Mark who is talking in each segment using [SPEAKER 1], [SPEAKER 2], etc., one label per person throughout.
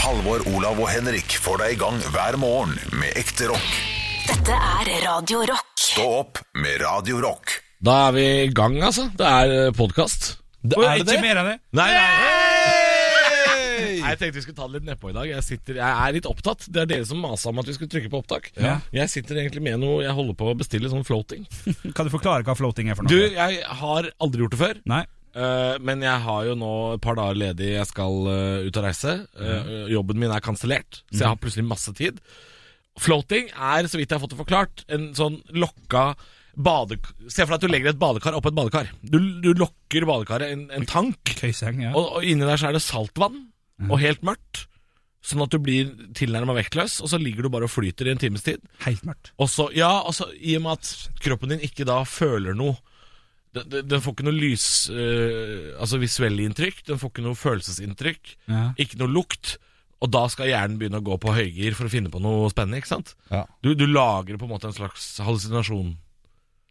[SPEAKER 1] Halvor, Olav og Henrik får deg i gang hver morgen med ekte rock.
[SPEAKER 2] Dette er Radio Rock.
[SPEAKER 1] Stå opp med Radio Rock.
[SPEAKER 3] Da er vi i gang, altså. Det er podkast.
[SPEAKER 4] Og ikke mer enn det.
[SPEAKER 3] Nei, nei. Nei, Jeg tenkte vi skulle ta det litt nedpå i dag. Jeg, sitter, jeg er litt opptatt. Det er dere som masa om at vi skulle trykke på opptak.
[SPEAKER 4] Ja.
[SPEAKER 3] Jeg sitter egentlig med noe Jeg holder på å bestille sånn floating.
[SPEAKER 4] Kan du forklare hva floating er for noe?
[SPEAKER 3] Du, jeg har aldri gjort det før.
[SPEAKER 4] Nei.
[SPEAKER 3] eh, men jeg har jo nå et par dager ledig. Jeg skal eh, ut og reise. Eh, jobben min er kansellert, så jeg har plutselig masse tid. Floating er, så vidt jeg har fått det forklart, en sånn lokka badek Se for deg at du legger et badekar oppå et badekar. Du, du lokker badekaret, en, en tank.
[SPEAKER 4] Køyseng, ja.
[SPEAKER 3] Og, og inni der så er det saltvann og helt mørkt, sånn at du blir tilnærma vektløs, og så ligger du bare og flyter i en times tid.
[SPEAKER 4] Helt mørkt.
[SPEAKER 3] Og så, ja, og så i og med at kroppen din ikke da føler noe den, den- den får ikke noe lys eh, Altså visuelle inntrykk, den får ikke noe følelsesinntrykk,
[SPEAKER 4] Ja.
[SPEAKER 3] ikke noe lukt. Og da skal hjernen begynne å gå på høygir for å finne på noe spennende. ikke sant?
[SPEAKER 5] Ja.
[SPEAKER 3] Du, du lager på en måte en slags hallusinasjon.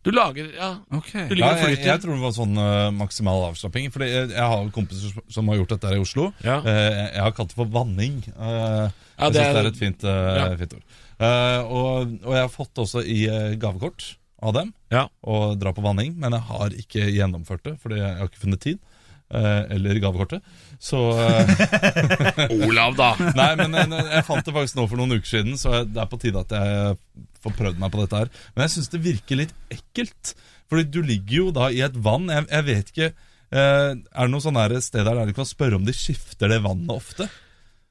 [SPEAKER 3] Du lager Ja.
[SPEAKER 4] Ok.
[SPEAKER 3] Du
[SPEAKER 5] Ja,
[SPEAKER 3] ligger og
[SPEAKER 5] jeg,
[SPEAKER 3] flyter.
[SPEAKER 5] jeg tror det var sånn eh, maksimal avslapping. Fordi jeg, jeg har kompiser som- som har gjort dette her i Oslo.
[SPEAKER 3] Ja.
[SPEAKER 5] Eh, jeg- jeg har kalt det for vanning. Eh,
[SPEAKER 3] Ja,
[SPEAKER 5] jeg
[SPEAKER 3] det
[SPEAKER 5] syns det
[SPEAKER 3] er-
[SPEAKER 5] er et fint, eh, fint ord. Eh, og, og jeg har fått også i eh, gavekort av dem
[SPEAKER 3] Ja.
[SPEAKER 5] å dra på vanning, men jeg har ikke gjennomført det, fordi jeg har ikke funnet tid. eh, eller gavekortet. Så eh,
[SPEAKER 3] Olav, da!
[SPEAKER 5] Nei, men jeg, jeg fant det faktisk nå for noen uker siden, så jeg- det er på tide at jeg får prøvd meg på dette her. Men jeg syns det virker litt ekkelt. Fordi du ligger jo da i et vann. Jeg, jeg vet ikke eh, Er det noe sånn her sted der du kan spørre om de skifter det vannet ofte?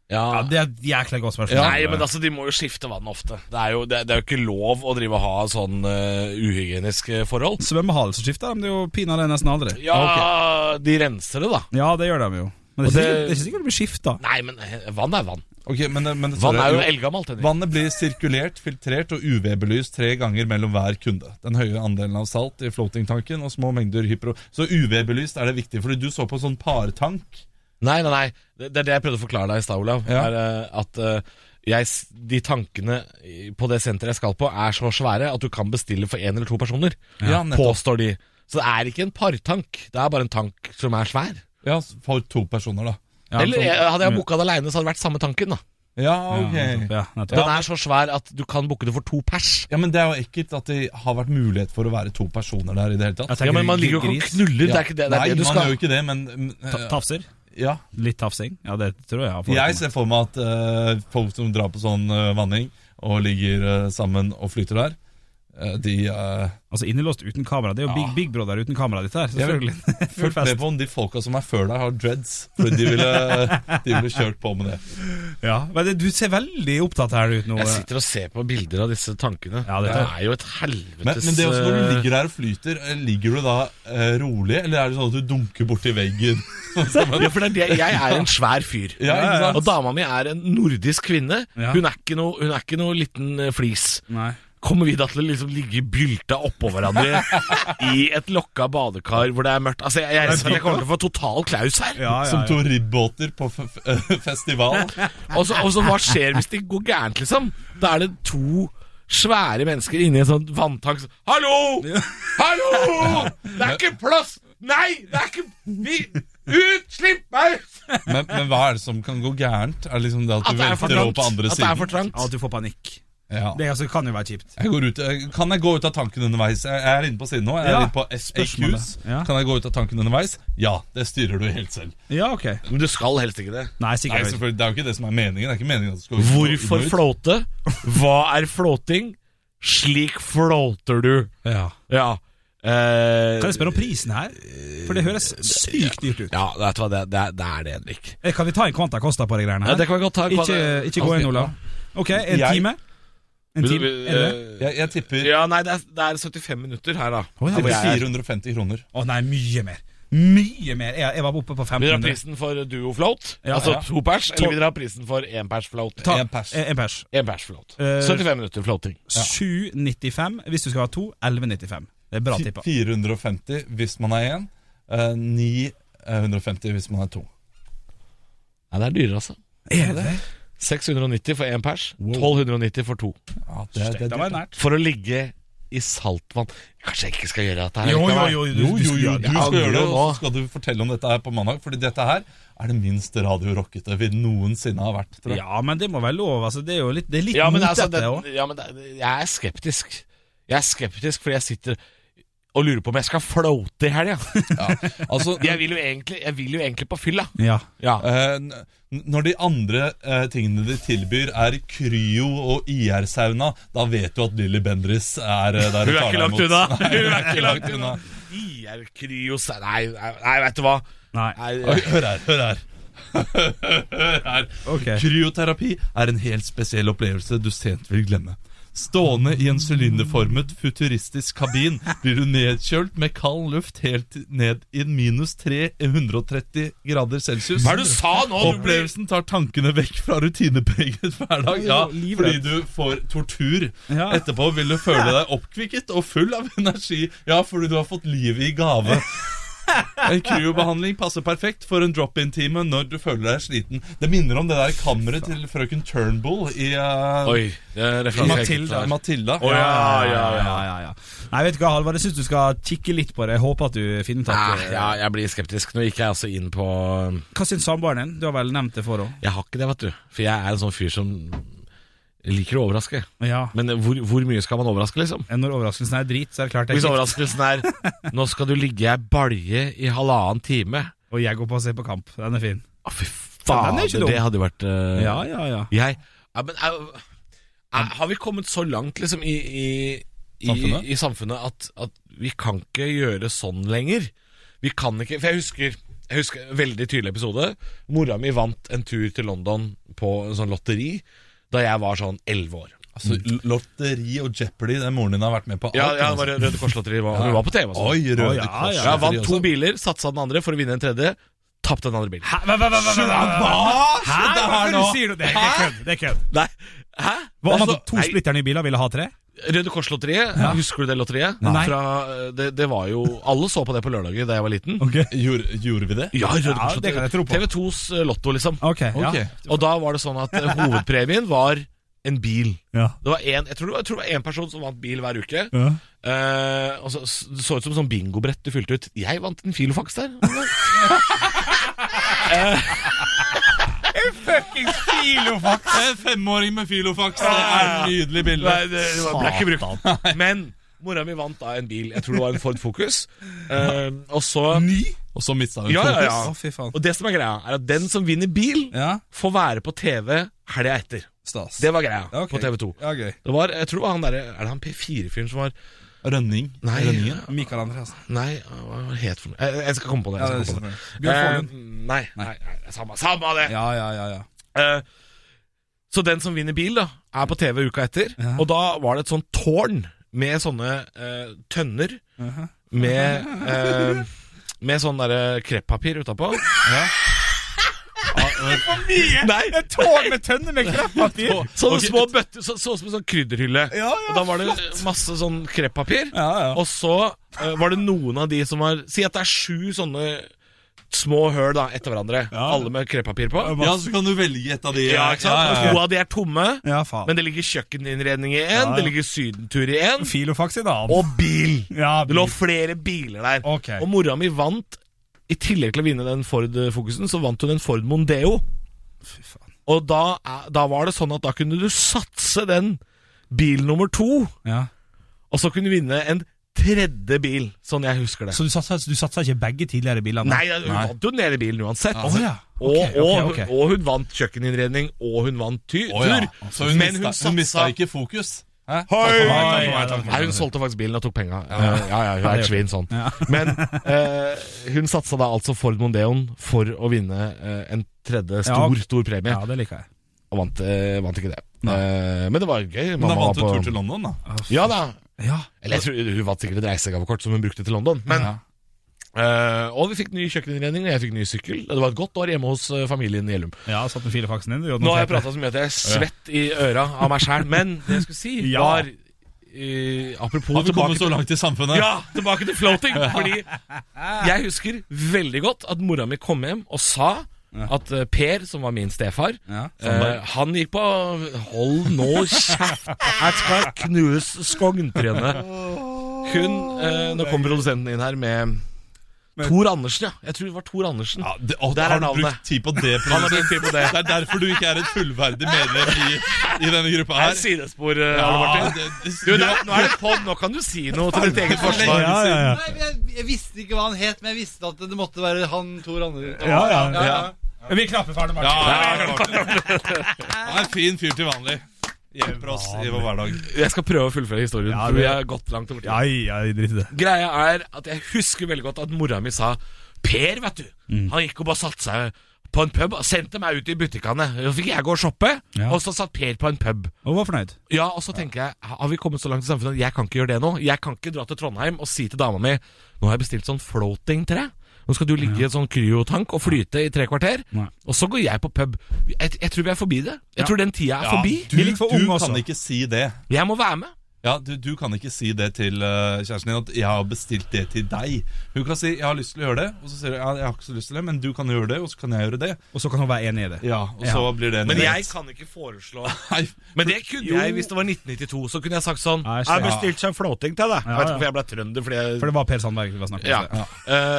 [SPEAKER 4] Ja, det er et jækla godt spørsmål.
[SPEAKER 3] Nei, men altså, de må jo skifte vann ofte. Det er jo, det, det er jo ikke lov å drive og ha sånn eh, uhygieniske forhold.
[SPEAKER 4] Svømmehall som skifter dem, det er jo pinadø nesten aldri.
[SPEAKER 3] Ja, de renser det, da.
[SPEAKER 4] Ja, det gjør de jo. Men det
[SPEAKER 3] Og det-
[SPEAKER 4] er ikke sikkert det, er ikke sikkert det blir skifta.
[SPEAKER 3] Nei, men eh, vann er vann.
[SPEAKER 5] Ok, men, det- men det-
[SPEAKER 3] Vann er jo
[SPEAKER 5] jo,
[SPEAKER 3] eldgammelt. Henrik.
[SPEAKER 5] Vannet blir sirkulert, filtrert og UV-belyst tre ganger mellom hver kunde. Den høye andelen av salt i floatingtanken og små mengder hypro... Så UV-belyst er det viktig, fordi du så på sånn partank.
[SPEAKER 3] Nei, nei, nei. Det, det er det jeg prøvde å forklare deg i stad, Olav.
[SPEAKER 5] Ja.
[SPEAKER 3] Er, eh, at eh, jeg, s- de tankene i- på det senteret jeg skal på, er så svære at du kan bestille for én eller to personer.
[SPEAKER 5] Ja, nettopp.
[SPEAKER 3] påstår de. Så det er ikke en partank. Det er bare en tank som er svær.
[SPEAKER 5] Ja, Mm. for to personer, da.
[SPEAKER 4] Ja,
[SPEAKER 3] eller
[SPEAKER 4] sånn-
[SPEAKER 3] eh, hadde jeg booka det aleine, så hadde det vært samme tanken, da.
[SPEAKER 5] Ja,
[SPEAKER 4] Ja, nettopp.
[SPEAKER 5] ok.
[SPEAKER 4] Ja, nettopp.
[SPEAKER 3] Den er så svær at du kan booke det for to pers.
[SPEAKER 5] Ja, men Det er jo ekkelt at det har vært mulighet for å være to personer der. i det hele tatt
[SPEAKER 4] Jeg tenker
[SPEAKER 3] Ja, men man
[SPEAKER 4] gri-
[SPEAKER 3] ligger jo ikke og
[SPEAKER 4] gris.
[SPEAKER 3] knuller. Det er ikke det, det, er
[SPEAKER 5] Nei,
[SPEAKER 3] det du
[SPEAKER 5] man
[SPEAKER 3] skal
[SPEAKER 5] gjør jo ikke det, men mm,
[SPEAKER 4] Ta- Tafser?
[SPEAKER 5] ja.
[SPEAKER 4] Litt tafsing? Ja, det tror jeg. har forekommet.
[SPEAKER 5] Jeg ser for meg at eh, folk som drar på sånn eh, vanning og ligger eh, sammen og flyter der, eh, de uh,
[SPEAKER 4] Altså Innelåst uten kamera. Det er jo Big, big Brother uten kamera, ditt her. Selvfølgelig. Full
[SPEAKER 5] Fulgt med
[SPEAKER 4] fest.
[SPEAKER 5] på om de folka som er før deg, har dreads. For de ville, de ville kjørt på med det.
[SPEAKER 4] Ja. Men det, du ser veldig opptatt her ut nå.
[SPEAKER 3] Jeg sitter og ser på bilder av disse tankene.
[SPEAKER 4] Ja, det
[SPEAKER 3] det,
[SPEAKER 4] er-
[SPEAKER 3] er jo et
[SPEAKER 5] Men,
[SPEAKER 3] helvetes
[SPEAKER 5] men det er også når du
[SPEAKER 3] eh,
[SPEAKER 5] ligger der og flyter, eh, ligger du da eh, rolig, eller er det sånn at du dunker borti veggen?
[SPEAKER 3] ja, for det er det, jeg er en svær fyr.
[SPEAKER 5] Ja, ikke sant?
[SPEAKER 3] Og dama mi er en nordisk kvinne.
[SPEAKER 4] Ja.
[SPEAKER 3] Hun, er ikke noe, hun er ikke noe liten eh, flis.
[SPEAKER 4] Nei.
[SPEAKER 3] Kommer vi da til å liksom ligge bylta oppå hverandre i et lokka badekar hvor det er mørkt? Altså, jeg, jeg, jeg, jeg kommer til å få total klaus her.
[SPEAKER 4] Ja, ja,
[SPEAKER 5] Som
[SPEAKER 4] ja.
[SPEAKER 5] to ribbåter på f f festival.
[SPEAKER 3] Og så, og så hva skjer hvis det går gærent, liksom? Da er det to svære mennesker inni en sånn vanntank som Hallo! Hallo! Det er ikke plass! Nei, det er ikke Vi Ut! Slipp meg ut!
[SPEAKER 5] Men, men hva er det som kan gå gærent? Er det liksom det at
[SPEAKER 3] At
[SPEAKER 5] du
[SPEAKER 3] det er for
[SPEAKER 5] velter over
[SPEAKER 3] trangt.
[SPEAKER 5] på andre
[SPEAKER 3] At det er
[SPEAKER 5] siden?
[SPEAKER 3] for trangt.
[SPEAKER 4] Ja, at du får panikk.
[SPEAKER 5] Ja.
[SPEAKER 4] Det altså, kan jo være kjipt.
[SPEAKER 5] Jeg går ut, jeg- kan jeg gå ut av tanken underveis? Jeg jeg er inne på siden nå. Jeg er
[SPEAKER 4] Ja,
[SPEAKER 5] inne på SAQs.
[SPEAKER 4] spørsmålet. Ja.
[SPEAKER 5] Kan jeg gå ut av tanken underveis? Ja, det styrer du helt selv.
[SPEAKER 4] Ja, ok.
[SPEAKER 3] Men du skal helst ikke det.
[SPEAKER 4] Nei,
[SPEAKER 5] Nei,
[SPEAKER 4] sikkert.
[SPEAKER 5] selvfølgelig, Det er jo ikke det som er meningen. Det er ikke meningen at du skal gå ut-
[SPEAKER 3] Hvorfor
[SPEAKER 5] gå ut.
[SPEAKER 3] flåte? Hva er flåting? Slik flåter du.
[SPEAKER 4] Ja.
[SPEAKER 3] Ja. Eh,
[SPEAKER 4] Kan jeg spørre om prisen her? For det høres sykt dyrt ut.
[SPEAKER 3] Ja, vet du hva, det, det, er- det er det, Henrik.
[SPEAKER 4] Eh, Kan vi ta en Quanta Costa på de greiene
[SPEAKER 3] Ja,
[SPEAKER 4] her?
[SPEAKER 3] det kan vi godt ta. Altså,
[SPEAKER 4] ikke, ikke gå inn, Olav. Ok, en
[SPEAKER 5] Jeg-
[SPEAKER 4] time? En
[SPEAKER 3] Vil du-
[SPEAKER 4] time? Er det det?
[SPEAKER 5] Jeg, jeg tipper,
[SPEAKER 3] Ja, nei, det er, det er 75 minutter her, da.
[SPEAKER 4] Å, ja,
[SPEAKER 3] Her hvor
[SPEAKER 5] tipper
[SPEAKER 3] jeg er.
[SPEAKER 5] 450 kroner.
[SPEAKER 4] Å nei, mye mer. Mye mer. Jeg, jeg var oppe på
[SPEAKER 3] Vil dere ha
[SPEAKER 4] 1500.
[SPEAKER 3] prisen for duo float?
[SPEAKER 4] Ja,
[SPEAKER 3] altså
[SPEAKER 4] ja.
[SPEAKER 3] to pers? Eller vil dere ha prisen for én pers float?
[SPEAKER 4] Ta
[SPEAKER 5] En pers.
[SPEAKER 4] eh, En pers.
[SPEAKER 3] Én pers float.
[SPEAKER 4] Eh,
[SPEAKER 3] 75 minutter floating.
[SPEAKER 4] 795 hvis du skal ha to. 1195. Det er bra
[SPEAKER 5] Fi-
[SPEAKER 4] tippa.
[SPEAKER 5] 450 hvis man er én. eh, 950 hvis man er to.
[SPEAKER 3] Nei, det er dyrere, altså.
[SPEAKER 4] Er det?
[SPEAKER 3] 690 for én pers, 1290 for to.
[SPEAKER 5] Ja, det, det,
[SPEAKER 4] Det var nært.
[SPEAKER 3] For å ligge i saltvann Kanskje jeg ikke skal gjøre dette her?
[SPEAKER 4] Jo, jo,
[SPEAKER 3] likevel.
[SPEAKER 4] jo.
[SPEAKER 5] Jo, jo, jo, du
[SPEAKER 4] det.
[SPEAKER 5] skal gjøre
[SPEAKER 3] angrer
[SPEAKER 5] det, og
[SPEAKER 3] nå.
[SPEAKER 5] så skal du fortelle om dette her på mandag. Fordi dette her er det minst radiorockete vi noensinne har vært. Tror jeg.
[SPEAKER 4] Ja, men det må være lov. Altså, det er jo litt, det er litt
[SPEAKER 3] Ja, men, altså,
[SPEAKER 4] motete
[SPEAKER 3] det,
[SPEAKER 4] òg.
[SPEAKER 3] ja, men det, jeg er skeptisk. Jeg er skeptisk fordi jeg sitter og lurer på om jeg skal floate i helga.
[SPEAKER 5] Altså,
[SPEAKER 3] Jeg vil jo egentlig, jeg vil jo egentlig på fylla.
[SPEAKER 4] Ja.
[SPEAKER 3] Ja.
[SPEAKER 5] eh, n- når de andre eh, tingene de tilbyr, er Kryo og IR-sauna, da vet du at Lilly Bendriss er eh, der
[SPEAKER 3] Hun er
[SPEAKER 5] og tar
[SPEAKER 3] ikke
[SPEAKER 5] deg
[SPEAKER 3] langt
[SPEAKER 5] imot.
[SPEAKER 3] unna!
[SPEAKER 5] Nei,
[SPEAKER 3] Hun er ikke langt unna. IR Kryos Nei, nei, nei, vet du hva?
[SPEAKER 4] Nei.
[SPEAKER 3] Nei,
[SPEAKER 5] Oi, hør her, hør her. hør her.
[SPEAKER 4] Ok.
[SPEAKER 5] Kryoterapi er en helt spesiell opplevelse du sent vil glemme. Stående i en sylinderformet, futuristisk kabin blir du nedkjølt med kald luft helt ned i minus 330 grader celsius.
[SPEAKER 3] Hva er det du sa nå? Du blir-
[SPEAKER 5] Opplevelsen tar tankene vekk fra rutinepreget hverdag. Ja, fordi du får tortur.
[SPEAKER 4] Ja.
[SPEAKER 5] Etterpå vil du føle deg oppkvikket og full av energi. Ja, fordi du har fått livet i gave. En kryobehandling passer perfekt for en drop-in-time når du føler deg sliten. Det minner om det der kammeret til frøken Turnbull i eh,
[SPEAKER 3] Oi, det er referanse jeg ikke
[SPEAKER 5] Matilda.
[SPEAKER 3] tar.
[SPEAKER 5] Matilda.
[SPEAKER 3] Å, ja, Ah, ja, ja.
[SPEAKER 4] Nei, vet du hva, Halvard, jeg syns du skal kikke litt på det. Jeg håper at du finner ut at eh,
[SPEAKER 3] Nei, Ah, ja, jeg blir skeptisk. Nå gikk jeg altså inn på
[SPEAKER 4] Hva syns samboeren din? Du har vel nevnt det for henne?
[SPEAKER 3] Jeg har ikke det, vet du. For jeg er en sånn fyr som liker å overraske.
[SPEAKER 4] Ja.
[SPEAKER 3] Men hvor, hvor mye skal man overraske, liksom?
[SPEAKER 4] Når overraskelsen er drit, så er det klart jeg
[SPEAKER 3] Hvis overraskelsen er 'nå skal du ligge i ei balje i halvannen time'
[SPEAKER 4] Og jeg går på og ser på kamp. Den er fin.
[SPEAKER 3] Å, fy
[SPEAKER 4] Ja, den
[SPEAKER 3] faen,
[SPEAKER 4] er ikke dum.
[SPEAKER 3] det hadde jo vært eh,
[SPEAKER 4] Ja, ja, ja.
[SPEAKER 3] Jeg ja, men, er, er, Har vi kommet så langt, liksom, i, i, i,
[SPEAKER 5] Samfunnet?
[SPEAKER 3] i samfunnet at, at vi kan ikke gjøre sånn lenger? Vi kan ikke For jeg husker jeg husker en veldig tydelig episode. Mora mi vant en tur til London på en sånn lotteri da jeg var sånn elleve år.
[SPEAKER 5] Altså, lotteri og Jeopardy, det moren din har vært med på.
[SPEAKER 3] Ja,
[SPEAKER 5] alt,
[SPEAKER 3] ja,
[SPEAKER 5] altså.
[SPEAKER 3] det var
[SPEAKER 4] sånn.
[SPEAKER 3] Røde Kors-lotteri. var- Hun var på TV. og sånn.
[SPEAKER 5] Oi, Røde
[SPEAKER 4] Å, ja,
[SPEAKER 5] Kors.
[SPEAKER 4] ja.
[SPEAKER 3] Ja, jeg vant to biler, satsa den andre for å vinne en tredje. Tapte den andre bilen.
[SPEAKER 4] Hæ? Hva, hva, hva, hva, hva, hva, hva?
[SPEAKER 5] Hva
[SPEAKER 4] Hæ?
[SPEAKER 5] skjedde her Ah, nå?
[SPEAKER 4] Hvorfor sier du det? Det er kødd. Det er kødd.
[SPEAKER 3] Nei, hæ?
[SPEAKER 4] Hva om han
[SPEAKER 3] Altså,
[SPEAKER 4] hadde to
[SPEAKER 3] nei,
[SPEAKER 4] splitter nye biler og ville ha tre?
[SPEAKER 3] Røde Kors-lotteriet, husker du det lotteriet?
[SPEAKER 4] Nei.
[SPEAKER 3] Fra, det, det var jo Alle så på det på lørdager da jeg var liten.
[SPEAKER 4] Ok.
[SPEAKER 5] Gjorde, gjorde vi det?
[SPEAKER 3] Ja, Røde
[SPEAKER 4] Ja, det kan jeg tro
[SPEAKER 3] Kors-lotteriet.
[SPEAKER 4] på.
[SPEAKER 3] TV2s lotto, liksom.
[SPEAKER 4] eh, Ok, ja.
[SPEAKER 5] Ok.
[SPEAKER 3] Og da var det sånn at eh, hovedpremien var en bil.
[SPEAKER 4] ja.
[SPEAKER 3] Det var en, jeg tror det var- jeg tror det var én person som vant bil hver uke.
[SPEAKER 4] Ja.
[SPEAKER 3] Eh, og så, det så ut som sånn bingobrett du fylte ut. Jeg vant en filofax der.
[SPEAKER 5] Filofax. En femåring med filofax. Det er et nydelig bilde.
[SPEAKER 3] Nei, det, det var ble ikke brukt. Men mora mi vant da en bil. Jeg tror det var en Ford Focus. Eh, og så
[SPEAKER 5] Ny. Og så mista hun
[SPEAKER 3] Ja, ja, ja.
[SPEAKER 5] fokus.
[SPEAKER 4] Å, fy faen.
[SPEAKER 3] Og det som er greia, er at den som vinner bil,
[SPEAKER 4] Ja.
[SPEAKER 3] får være på TV helga etter.
[SPEAKER 5] Stas.
[SPEAKER 3] Det var greia
[SPEAKER 5] Ok.
[SPEAKER 3] på TV2.
[SPEAKER 5] Ja, gøy.
[SPEAKER 3] Det var, jeg tror det var han derre Er det han P4-fyren som var
[SPEAKER 5] Rønning.
[SPEAKER 3] Nei,
[SPEAKER 5] Rønningen.
[SPEAKER 4] Mikael Andreassen.
[SPEAKER 3] nei hva var det het for noe? Jeg, jeg skal komme på det.
[SPEAKER 4] Ja,
[SPEAKER 3] Jeg
[SPEAKER 4] det
[SPEAKER 3] skal
[SPEAKER 4] er
[SPEAKER 3] komme på det.
[SPEAKER 4] selvfølgelig. Bjørn
[SPEAKER 3] Eh, nei, nei, nei, samme, samme det!
[SPEAKER 4] Ja, ja, ja, ja.
[SPEAKER 3] Eh, så den som vinner bil, da, er på TV uka etter. Og da var det et sånt tårn med sånne eh, tønner med eh, Med sånn derre kreppapir utapå. Nei, et
[SPEAKER 4] Tårn med tønne med kreppapir!
[SPEAKER 3] Sånne små bøtter, så, så ut som en sånn krydderhylle.
[SPEAKER 4] Ja, ja,
[SPEAKER 3] og da var det masse sånn kreppapir.
[SPEAKER 4] Ja, ja.
[SPEAKER 3] Og så eh, var det noen av de som var Si at det er sju sånne små høl da, etter hverandre. Alle med kreppapir på.
[SPEAKER 5] Ja, så kan du velge et av de.
[SPEAKER 3] Ja, ikke sant?
[SPEAKER 5] Ja, ja,
[SPEAKER 3] To
[SPEAKER 5] ja.
[SPEAKER 3] av de er tomme.
[SPEAKER 4] Ja, faen.
[SPEAKER 3] Men det ligger kjøkkeninnredning i én,
[SPEAKER 4] ja.
[SPEAKER 3] det ligger sydentur i én,
[SPEAKER 4] Filofax i dag.
[SPEAKER 3] og bil.
[SPEAKER 4] Ja,
[SPEAKER 3] Det lå flere biler der.
[SPEAKER 4] Ok.
[SPEAKER 3] Og mora mi vant, i tillegg til å vinne den Ford-fokusen, så vant hun en Ford Mondeo. Og da, er- da var det sånn at da kunne du satse den bil nummer to,
[SPEAKER 4] Ja.
[SPEAKER 3] og så kunne du vinne en tredje bil, sånn jeg husker det.
[SPEAKER 4] Så du satsa, du satsa ikke begge tidligere bilene?
[SPEAKER 3] Nei, hun vant jo den hele bilen uansett.
[SPEAKER 4] Å ja.
[SPEAKER 3] Og,
[SPEAKER 4] Ok, ok,
[SPEAKER 3] og,
[SPEAKER 4] ok.
[SPEAKER 3] og hun vant kjøkkeninnredning, og hun vant ty- tur.
[SPEAKER 5] Å, ja. Så hun
[SPEAKER 3] men
[SPEAKER 5] mista,
[SPEAKER 3] hun satsa
[SPEAKER 5] hun mista ikke fokus. Hæ?
[SPEAKER 4] Oi,
[SPEAKER 3] Hoi!
[SPEAKER 4] oi, oi, oi.
[SPEAKER 3] Nei, hun solgte faktisk bilen og tok penga. Ja, ja, ja, hun er et svin sånn. Men eh, hun satsa da altså Ford Mondeon for å vinne eh, en tredje stor,
[SPEAKER 4] Ja.
[SPEAKER 3] stor premie,
[SPEAKER 4] Ja, det liker jeg.
[SPEAKER 3] og vant, eh, vant ikke det. Eh, men det var gøy.
[SPEAKER 5] Men da
[SPEAKER 3] Mamma
[SPEAKER 5] vant du
[SPEAKER 3] var
[SPEAKER 5] tur
[SPEAKER 3] på
[SPEAKER 5] til London, da.
[SPEAKER 3] Ja da.
[SPEAKER 4] Ja.
[SPEAKER 3] Eller jeg tror hun vant sikkert et reisegavekort som hun brukte til London. Men eh, Og vi fikk ny kjøkkeninnredning, og jeg fikk ny sykkel. Det var et godt år hjemme hos eh, familien Gjellum.
[SPEAKER 4] Ja, satt med filofaxen din. Du,
[SPEAKER 3] Nå har jeg prata så mye at jeg er svett i øra av meg sjæl, men det jeg skulle si,
[SPEAKER 4] Ja.
[SPEAKER 3] var eh, Apropos
[SPEAKER 5] At du
[SPEAKER 3] tilbake
[SPEAKER 5] kommer så langt i samfunnet.
[SPEAKER 3] Ja, tilbake til floating. Fordi jeg husker veldig godt at mora mi kom hjem og sa at eh, Per, som var min stefar,
[SPEAKER 4] Ja.
[SPEAKER 3] eh, han gikk på Hold nå kjeft, jeg skal knuse skogntrynet. Hun eh, Nå kommer produsenten inn her med
[SPEAKER 5] Men-
[SPEAKER 3] Tor Andersen, ja. Jeg tror det var Tor Andersen.
[SPEAKER 5] Ja, det, å,
[SPEAKER 3] Der er
[SPEAKER 5] har du
[SPEAKER 3] navnet.
[SPEAKER 5] brukt tid på det?
[SPEAKER 3] Han har
[SPEAKER 5] produsent?
[SPEAKER 3] brukt tid på det.
[SPEAKER 5] Det er derfor du ikke er et fullverdig medlem i, i denne gruppa
[SPEAKER 3] Det
[SPEAKER 5] her.
[SPEAKER 3] er sidespor, eh,
[SPEAKER 5] Ja,
[SPEAKER 3] Ole Martin.
[SPEAKER 5] det- det-
[SPEAKER 3] Du, det er, nå er det pod, nå kan du si noe til ditt eget forsvar.
[SPEAKER 4] Ja, ja, ja.
[SPEAKER 6] Nei, men jeg, jeg visste ikke hva han het, men jeg visste at det måtte være han Tor Andre.
[SPEAKER 4] Ja, ja.
[SPEAKER 6] Ja, ja.
[SPEAKER 4] Vi klapper ferdig, Martin.
[SPEAKER 5] Ja, ja, ja. Han er en fin fyr til vanlig. Hjelper oss i vår hverdag.
[SPEAKER 3] Jeg skal prøve å fullføre historien,
[SPEAKER 4] Ja,
[SPEAKER 3] for
[SPEAKER 4] det-
[SPEAKER 3] vi har gått langt over tid.
[SPEAKER 4] Ja, ja, drit i det.
[SPEAKER 3] Greia er at jeg husker veldig godt at mora mi sa Per, vet du,
[SPEAKER 5] Mm.
[SPEAKER 3] han gikk og bare satte seg på en pub og sendte meg ut i butikkene. Så fikk jeg gå og shoppe,
[SPEAKER 4] Ja.
[SPEAKER 3] og så satt Per på en pub.
[SPEAKER 4] Og var fornøyd.
[SPEAKER 3] Ja, og så tenker jeg, har vi kommet så langt i samfunnet at jeg kan ikke gjøre det nå? Jeg kan ikke dra til Trondheim og si til dama mi Nå har jeg bestilt sånn floating til deg. Nå skal du ligge i en sånn kryotank og flyte i tre kvarter.
[SPEAKER 4] Nei.
[SPEAKER 3] Og så går jeg på pub. Jeg, jeg tror vi er forbi det. Jeg tror den tida er
[SPEAKER 5] Ja,
[SPEAKER 3] forbi.
[SPEAKER 5] Du,
[SPEAKER 4] Vi er litt for
[SPEAKER 5] du
[SPEAKER 4] unge
[SPEAKER 5] kan
[SPEAKER 4] også.
[SPEAKER 5] ikke si det.
[SPEAKER 3] Jeg må være med.
[SPEAKER 5] Ja, du, du kan ikke si det til eh, kjæresten din at 'jeg har bestilt det til deg'. Hun kan si 'jeg har lyst til å gjøre det', og så sier du ja, 'jeg har ikke så lyst til det', men du kan gjøre det, og så kan jeg gjøre det.
[SPEAKER 4] Og så kan hun være enig i det.
[SPEAKER 5] Ja, Og så blir det en
[SPEAKER 3] Men
[SPEAKER 5] rett.
[SPEAKER 3] jeg kan ikke foreslå
[SPEAKER 5] Nei,
[SPEAKER 3] Men det kunne jeg hvis det var 1992. Så kunne jeg sagt sånn
[SPEAKER 4] Nei,
[SPEAKER 3] Jeg
[SPEAKER 4] så-
[SPEAKER 3] har bestilt seg floating til deg. Jeg vet
[SPEAKER 4] ja.
[SPEAKER 3] ikke hvorfor jeg ble trønder, fordi jeg
[SPEAKER 4] For det var Per Sandberg vi var snakket
[SPEAKER 3] ja.
[SPEAKER 4] om. Ja.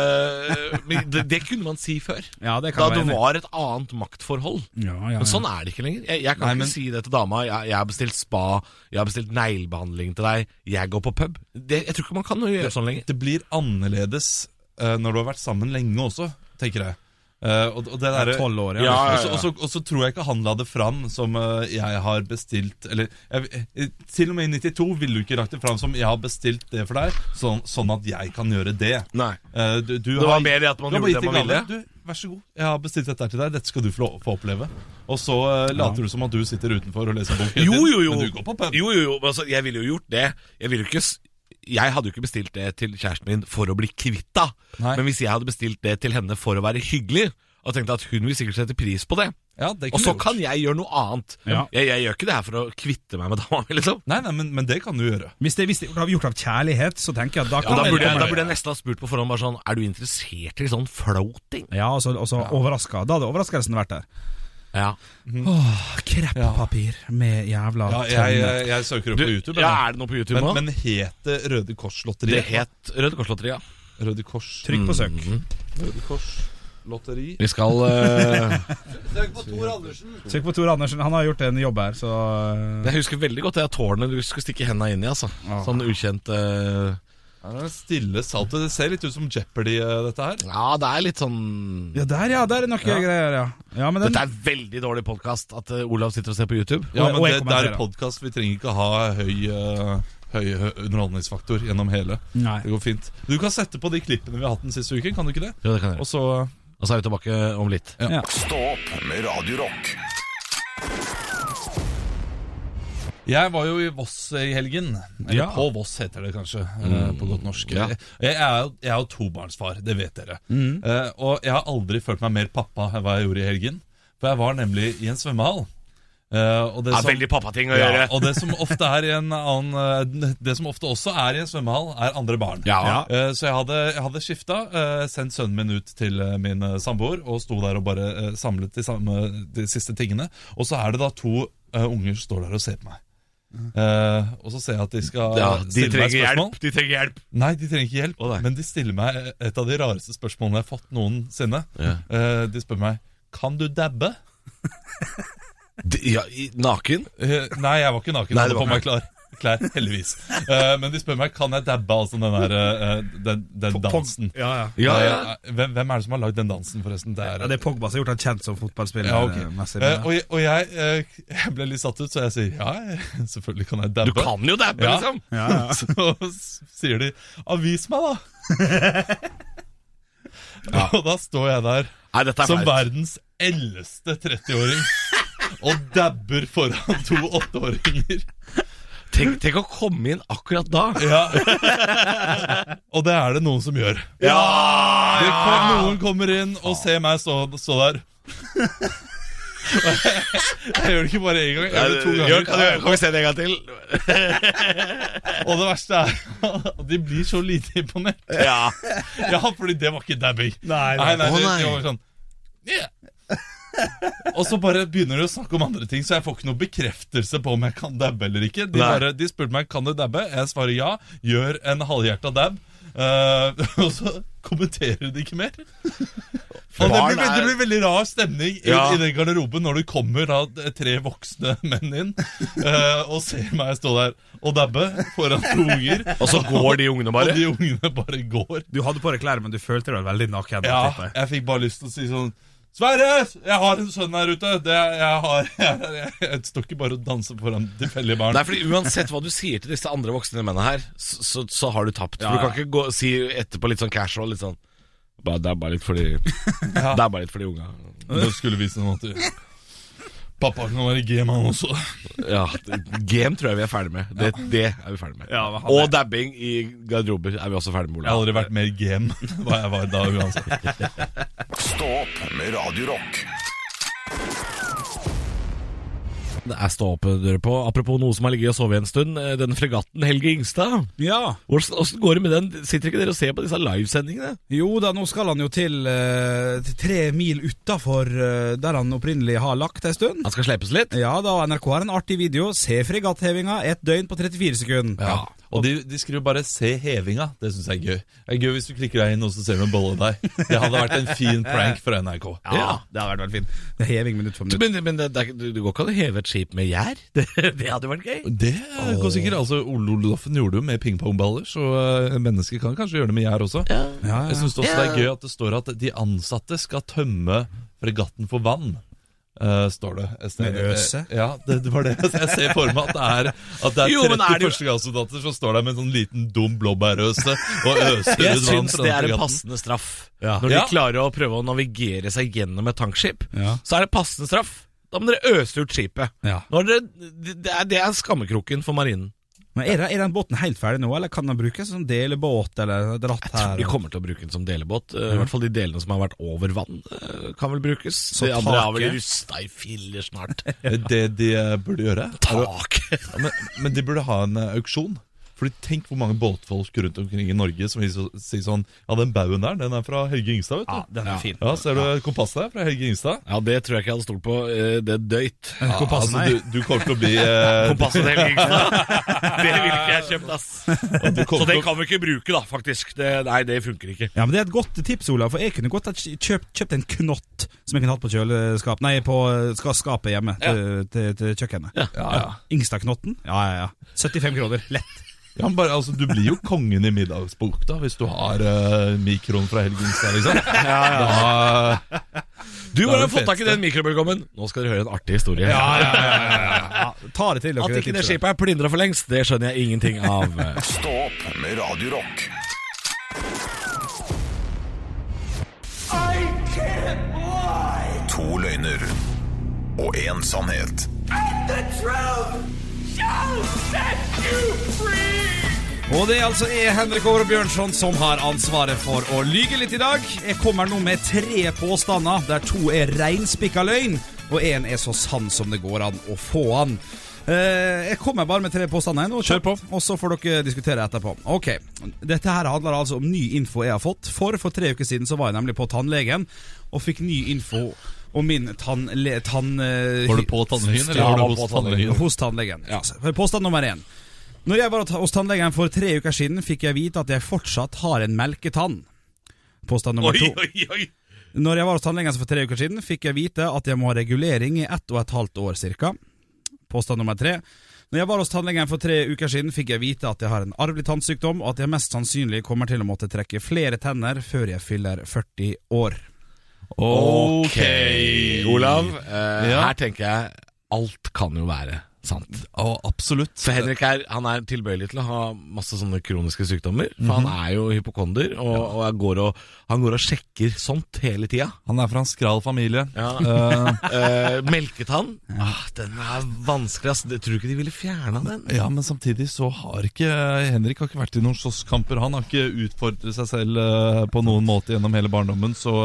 [SPEAKER 3] Eh, men det, det kunne man si før.
[SPEAKER 4] ja, det
[SPEAKER 3] Da
[SPEAKER 4] kan
[SPEAKER 3] det
[SPEAKER 4] jeg være enig i.
[SPEAKER 3] var et annet maktforhold.
[SPEAKER 4] Ja, ja, ja.
[SPEAKER 3] Men sånn er det ikke lenger. Jeg, jeg kan
[SPEAKER 5] Nei,
[SPEAKER 3] ikke
[SPEAKER 5] men-
[SPEAKER 3] si det til dama. Jeg, jeg har bestilt spa, jeg har bestilt neglebehandling til deg, jeg går på pub. Det, jeg tror ikke man kan gjøre sånn lenger.
[SPEAKER 5] Det blir annerledes eh, når du har vært sammen lenge også, tenker jeg. Eh, og, og det derre
[SPEAKER 4] 12 år, ja.
[SPEAKER 3] Ja, ja,
[SPEAKER 5] Og så- Og, så, og så tror jeg ikke han la det fram som eh, jeg har bestilt Eller jeg, eh, til og med i 92 ville du ikke lagt det fram som jeg har bestilt det for deg, sånn, sånn at jeg kan gjøre det.
[SPEAKER 3] Nei.
[SPEAKER 5] Eh, du, du
[SPEAKER 3] Det
[SPEAKER 5] har-
[SPEAKER 3] var mer i at man
[SPEAKER 5] du har
[SPEAKER 3] gjorde
[SPEAKER 5] gitt
[SPEAKER 3] det
[SPEAKER 5] en
[SPEAKER 3] man ville.
[SPEAKER 5] gave. Du, vær så god, jeg har bestilt dette her til deg. Dette skal du få, lov- få oppleve. Og så eh, later du som at du sitter utenfor og leser bok. hele
[SPEAKER 3] Jo,
[SPEAKER 5] tiden,
[SPEAKER 3] jo, jo.
[SPEAKER 5] Men du går på pub.
[SPEAKER 3] Jo, jo, jo. men Altså, jeg ville jo gjort det. Jeg ville jo ikke s- jeg hadde jo ikke bestilt det til kjæresten min for å bli kvitt da.
[SPEAKER 5] Nei.
[SPEAKER 3] Men hvis jeg hadde bestilt det til henne for å være hyggelig, og tenkte at hun vil sikkert sette pris på det,
[SPEAKER 5] Ja, det
[SPEAKER 3] og
[SPEAKER 5] kunne
[SPEAKER 3] så
[SPEAKER 5] du gjort.
[SPEAKER 3] kan jeg gjøre noe annet.
[SPEAKER 4] Ja.
[SPEAKER 3] Jeg, jeg gjør ikke det her for å kvitte meg med dama mi, liksom.
[SPEAKER 5] Nei, nei, men, men det kan du gjøre.
[SPEAKER 4] Hvis det, hvis det er gjort av kjærlighet, så tenker jeg at da
[SPEAKER 3] Og
[SPEAKER 4] kan
[SPEAKER 3] da
[SPEAKER 4] det
[SPEAKER 3] burde, jeg,
[SPEAKER 4] komme-
[SPEAKER 3] da burde jeg nesten ha spurt på forhånd bare sånn Er du interessert i sånn floating?
[SPEAKER 4] Ja, og så, og så overraska. Da hadde overraskelsen vært der.
[SPEAKER 3] Ja.
[SPEAKER 4] Åh, kreppapir med jævla
[SPEAKER 5] Ja, jeg,
[SPEAKER 4] tønne.
[SPEAKER 5] jeg, jeg søker opp
[SPEAKER 3] Du,
[SPEAKER 5] på YouTube.
[SPEAKER 3] ja,
[SPEAKER 5] jeg,
[SPEAKER 3] er det noe på YouTube
[SPEAKER 5] Men,
[SPEAKER 3] nå?
[SPEAKER 5] men het det Røde Kors-lotteri?
[SPEAKER 3] det het Røde Kors-lotteri, ja.
[SPEAKER 5] Røde Kors.
[SPEAKER 4] Trykk på søk.
[SPEAKER 5] Røde Kors-lotteri.
[SPEAKER 3] Vi skal eh,
[SPEAKER 6] Søk på Tor Andersen.
[SPEAKER 4] Søk på Tor Andersen. Han har gjort en jobb her, så eh,
[SPEAKER 3] Jeg husker veldig godt det at tårnet du skulle stikke henda inn i, altså. Sånn ukjent eh,
[SPEAKER 5] Ja, det er Stille saltet. Det ser litt ut som Jeopardy, eh, dette her.
[SPEAKER 3] Ja, det er litt sånn
[SPEAKER 4] Ja, der, ja. Der er noe greier, ja. ja men den,
[SPEAKER 3] Dette er veldig dårlig podkast at eh, Olav sitter og ser på YouTube.
[SPEAKER 5] Ja,
[SPEAKER 4] Og-
[SPEAKER 5] men
[SPEAKER 4] og jeg
[SPEAKER 5] det, det
[SPEAKER 4] kommenterer.
[SPEAKER 5] er podkast. Vi trenger ikke ha høy, eh, høy, høy underholdningsfaktor gjennom hele.
[SPEAKER 4] Nei.
[SPEAKER 5] Det går fint. Du kan sette på de klippene vi har hatt den siste uken, kan du ikke det?
[SPEAKER 3] Jo, det kan jeg
[SPEAKER 5] Og
[SPEAKER 3] gjøre.
[SPEAKER 5] så
[SPEAKER 3] Og så er vi tilbake om litt.
[SPEAKER 1] Stå opp med Radio Rock.
[SPEAKER 5] Jeg var jo i Voss i helgen. Eller
[SPEAKER 4] Ja.
[SPEAKER 5] på Voss heter det kanskje, eh, på godt norsk.
[SPEAKER 3] Mm. Ja. Mm.
[SPEAKER 5] Jeg, er jo, jeg er jo tobarnsfar, det vet dere. Eh, og jeg har aldri følt meg mer pappa enn hva jeg gjorde i helgen. For jeg var nemlig i en svømmehall. Eh, og det
[SPEAKER 3] Ja,
[SPEAKER 5] som-
[SPEAKER 3] veldig pappating å
[SPEAKER 5] ja,
[SPEAKER 3] gjøre.
[SPEAKER 5] og det som ofte er i en annen eh, Det som ofte også er i en svømmehall, er andre barn.
[SPEAKER 3] Ja.
[SPEAKER 5] Eh, Så jeg hadde, jeg hadde skifta, eh, sendt sønnen min ut til eh, min eh, samboer og sto der og bare eh, samlet de, samme, de siste tingene. Og så er det da to eh, unger som står der og ser på meg. Eh, og så ser jeg at de skal
[SPEAKER 3] Ja, de
[SPEAKER 5] stille meg
[SPEAKER 3] trenger
[SPEAKER 5] spørsmål.
[SPEAKER 3] hjelp. De trenger hjelp.
[SPEAKER 5] Nei, de trenger ikke hjelp,
[SPEAKER 3] Å, nei.
[SPEAKER 5] men de stiller meg et av de rareste spørsmålene jeg har fått noensinne. Eh, de spør meg Kan du dabbe?
[SPEAKER 3] De, ja, i- naken?
[SPEAKER 5] Eh, nei, jeg var ikke naken.
[SPEAKER 3] Nei,
[SPEAKER 5] jeg
[SPEAKER 3] det
[SPEAKER 5] hadde
[SPEAKER 3] var
[SPEAKER 5] på meg klar, klær, heldigvis. Eh, men de spør meg kan jeg dabbe, altså den, der, eh, den, den dansen.
[SPEAKER 4] ja, ja.
[SPEAKER 3] Ja, ja.
[SPEAKER 5] Eh, Hvem, hvem er det som har lagd den dansen, forresten? Det er,
[SPEAKER 4] Ja, det er Pogba som har gjort han kjent som fotballspiller.
[SPEAKER 5] Ja, ok.
[SPEAKER 4] eh, messig,
[SPEAKER 5] Eh,
[SPEAKER 4] men-
[SPEAKER 5] og jeg, og jeg, eh, jeg ble litt satt ut, så jeg sier ja, jeg- selvfølgelig kan jeg dabbe.
[SPEAKER 3] Du kan jo dabbe,
[SPEAKER 5] Ja.
[SPEAKER 3] liksom.
[SPEAKER 4] ja, ja.
[SPEAKER 5] Så s- sier de 'avvis meg', da. Og da står jeg der
[SPEAKER 3] Nei, dette er
[SPEAKER 5] som
[SPEAKER 3] flaut.
[SPEAKER 5] verdens eldste 30-åring og dabber foran to åtteåringer.
[SPEAKER 3] Tenk, tenk å komme inn akkurat da.
[SPEAKER 5] Ja. Og det er det noen som gjør. Det kom, noen kommer inn og ser meg stå, stå der. Jeg gjør det ikke bare én gang, jeg gjør det to
[SPEAKER 3] Gjør- kan
[SPEAKER 5] ganger.
[SPEAKER 3] du- kan vi se det en gang til?
[SPEAKER 5] Og det verste er at de blir så lite imponert.
[SPEAKER 3] Ja.
[SPEAKER 5] Ja, fordi det var ikke dabbing.
[SPEAKER 4] Nei,
[SPEAKER 5] Nei,
[SPEAKER 4] nei.
[SPEAKER 3] Å,
[SPEAKER 5] nei, det,
[SPEAKER 3] nei.
[SPEAKER 5] det var sånn «Yeah». Og så bare begynner de å snakke om andre ting, så jeg får ikke noen bekreftelse på om jeg kan dabbe eller ikke. De,
[SPEAKER 3] Nei.
[SPEAKER 5] bare, de spurte meg kan du dabbe, jeg svarer ja, gjør en halvhjerta dab. Eh, Eh, og så kommenterer de ikke mer. Og det
[SPEAKER 3] Barn
[SPEAKER 5] blir, veldig- det
[SPEAKER 3] er-
[SPEAKER 5] blir veldig rar stemning i,
[SPEAKER 3] Ja.
[SPEAKER 5] i den garderoben når det kommer da, tre voksne menn inn eh, og ser meg stå der og dabbe foran to unger.
[SPEAKER 3] Og så går de ungene
[SPEAKER 5] Og
[SPEAKER 3] bare.
[SPEAKER 5] de ungene bare går.
[SPEAKER 4] Du hadde på deg klær, men du følte deg veldig naken.
[SPEAKER 5] Ja,
[SPEAKER 4] tipper jeg.
[SPEAKER 5] jeg fikk bare lyst til å si sånn Sverre, jeg har en sønn her ute. Det, jeg, har, jeg, jeg, jeg står ikke bare og danser foran tilfeldige barn.
[SPEAKER 3] Nei, fordi Uansett hva du sier til disse andre voksne mennene her, så, så, så har du tapt.
[SPEAKER 4] Ja,
[SPEAKER 3] For Du
[SPEAKER 4] ja.
[SPEAKER 3] kan ikke gå, si etterpå litt sånn casual litt sånn «Ba- Det er bare litt for de Det er bare litt for de unga.
[SPEAKER 5] Nå skulle vi vise dem at du- Pappa kan være game, han også.
[SPEAKER 3] Ja, det- Game tror jeg vi er ferdig med. Det, det er vi ferdig med.
[SPEAKER 4] Ja, men han
[SPEAKER 3] Og dabbing i garderober er vi også ferdig med.
[SPEAKER 5] Jeg har
[SPEAKER 3] Olav.
[SPEAKER 5] aldri vært mer game enn hva jeg var da uansett.
[SPEAKER 1] Stå opp med Radio Rock.
[SPEAKER 3] Det er stå opp dere på. Apropos noe som har ligget og sovet en stund. eh, Den fregatten Helge Ingstad.
[SPEAKER 4] ja.
[SPEAKER 3] Hvordan, hvordan går det med den? Sitter ikke dere og ser på disse livesendingene?
[SPEAKER 4] Jo da, nå skal han jo til, eh, til tre mil utafor eh, der han opprinnelig har lagt ei stund.
[SPEAKER 3] Han skal slepes litt?
[SPEAKER 4] Ja da, og NRK har en artig video. Se fregatthevinga, ett døgn på 34 sekunder.
[SPEAKER 5] Ja. Og de, de skriver bare 'se hevinga'. Det syns jeg er gøy. Det er gøy hvis du klikker deg inn og så ser du en bolle der. Det hadde vært en fin prank fra NRK.
[SPEAKER 3] Ja.
[SPEAKER 4] det hadde vært veldig fint. Det er heving minutt for minutt.
[SPEAKER 3] Men, men det, det, er ikke- du, du går ikke an å heve et skip med gjær? Det, det hadde vært gøy.
[SPEAKER 5] Det går sikkert. altså Ole Olofen gjorde det jo med pingpongballer, så eh, mennesker kan kanskje gjøre det med gjær også.
[SPEAKER 3] Ah,
[SPEAKER 4] Ja,
[SPEAKER 5] Jeg syns også det er gøy at det står at de ansatte skal tømme fregatten for vann. eh, står det et sted.
[SPEAKER 4] Med øse?
[SPEAKER 5] Eh, Ja, det, det var det jeg ser for meg. At det er, at det er
[SPEAKER 3] Jo, men er
[SPEAKER 5] 30
[SPEAKER 3] det jo-
[SPEAKER 5] førstegangssoldater som står der med en sånn liten dum blåbærøse og øser
[SPEAKER 3] Jeg
[SPEAKER 5] ut vann
[SPEAKER 3] syns
[SPEAKER 5] fra
[SPEAKER 3] det er
[SPEAKER 5] den
[SPEAKER 3] en
[SPEAKER 5] fregatten.
[SPEAKER 3] passende straff. Når de
[SPEAKER 5] Ja.
[SPEAKER 3] klarer å prøve å navigere seg gjennom et tankskip,
[SPEAKER 4] Ja.
[SPEAKER 3] så er det passende straff. Da må dere øse ut skipet.
[SPEAKER 4] Ja.
[SPEAKER 3] Når dere, det, det er, det er skammekroken for marinen.
[SPEAKER 4] Men er, den- er den båten helt ferdig nå, eller kan den brukes som delebåt eller dratt her?
[SPEAKER 3] De kommer til å bruke den som delebåt. Eh, I hvert fall de delene som har vært over vann, eh, kan vel brukes.
[SPEAKER 4] Så
[SPEAKER 3] de andre har
[SPEAKER 4] taket?
[SPEAKER 3] vel rusta i filler snart.
[SPEAKER 5] Det de eh, burde gjøre er å
[SPEAKER 3] Taket!
[SPEAKER 5] Ja, men, men de burde ha en eh, auksjon. Fordi Tenk hvor mange båtfolk rundt omkring i Norge som vil så- si sånn Ja, den baugen der, den er fra Helge Ingstad,
[SPEAKER 3] Ah.
[SPEAKER 5] vet du. Ja,
[SPEAKER 4] den er fin.
[SPEAKER 5] Ser du kompasset der fra Helge Ingstad?
[SPEAKER 3] Ja, det tror jeg ikke jeg hadde stolt på. eh, Det døyt.
[SPEAKER 5] Ja,
[SPEAKER 4] kompasset, nei.
[SPEAKER 5] du, du kommer til å bli eh,
[SPEAKER 3] Kompasset til Helge Ingstad. Det ville ikke jeg kjøpt, ass. Så
[SPEAKER 5] kommer
[SPEAKER 3] det
[SPEAKER 5] til å-
[SPEAKER 3] kan vi ikke bruke, da, faktisk. Det, nei, det funker ikke.
[SPEAKER 4] Ja, men Det er et godt tips, Olav. For jeg kunne godt ha kj- kjøpt, kjøpt en knott som jeg kunne hatt på kjøleskap Nei, på eh, ska- skapet hjemme til, til, til kjøkkenet.
[SPEAKER 5] ja, ja.
[SPEAKER 4] Ingstadknotten? Ja, ja, ja. 75 kroner. Lett.
[SPEAKER 5] ja, men bare, altså, Du blir jo kongen i middagsbukta hvis du har eh, mikroen fra Helge Ingstad, liksom. Da,
[SPEAKER 3] Du
[SPEAKER 5] Det er
[SPEAKER 3] har
[SPEAKER 5] det
[SPEAKER 3] fått tak i
[SPEAKER 5] feteste.
[SPEAKER 3] den mikrobølgeovnen. Nå skal dere høre en artig historie.
[SPEAKER 4] Ja, ta det til dere.
[SPEAKER 3] At ikke det
[SPEAKER 4] tipset.
[SPEAKER 3] skipet er plyndra for lengst, det skjønner jeg ingenting av.
[SPEAKER 1] Stå opp med Radio Rock. To løgner og én sannhet.
[SPEAKER 4] Og det er altså jeg, Henrik Åre Bjørnson, som har ansvaret for å lyge litt i dag. Jeg kommer nå med tre påstander, der to er reinspikka løgn, og én er så sann som det går an å få han. Eh, Jeg kommer bare med tre påstander nå, kjør på. og så får dere diskutere etterpå. Ok, Dette her handler altså om ny info jeg har fått. For for tre uker siden så var jeg nemlig på tannlegen og fikk ny info om min tannle... Tann, eh,
[SPEAKER 5] var du på tannlegen, eller
[SPEAKER 4] Ja,
[SPEAKER 5] var
[SPEAKER 4] jeg
[SPEAKER 5] du hos tannlegen?
[SPEAKER 4] Hos tannlegen. Påstand nummer én. Når jeg var hos tannlegen for tre uker siden, fikk jeg vite at jeg fortsatt har en melketann. Påstand nummer to.
[SPEAKER 3] oi, oi.
[SPEAKER 4] Når jeg var hos tannlegen for tre uker siden, fikk jeg vite at jeg må ha regulering i ett og et halvt år cirka. Påstand nummer tre. Når jeg var hos tannlegen for tre uker siden, fikk jeg vite at jeg har en arvelig tannsykdom, og at jeg mest sannsynlig kommer til å måtte trekke flere tenner før jeg fyller 40 år.
[SPEAKER 3] Ok, Olav. eh,
[SPEAKER 5] Ja.
[SPEAKER 3] Her tenker jeg alt kan jo være sant.
[SPEAKER 5] Å, absolutt.
[SPEAKER 3] For Henrik er, han er tilbøyelig til å ha masse sånne kroniske sykdommer. For han er jo hypokonder, og, og, jeg går og han går og sjekker sånt hele tida.
[SPEAKER 5] Han er fra en skral familie.
[SPEAKER 3] Eh, eh, melketann. Ah, den er vanskelig, ass. Jeg tror ikke de ville fjerna den.
[SPEAKER 5] Ja, men samtidig så har ikke eh, Henrik har ikke vært i noen slåsskamper. Han har ikke utfordret seg selv eh, på noen måte gjennom hele barndommen. Så,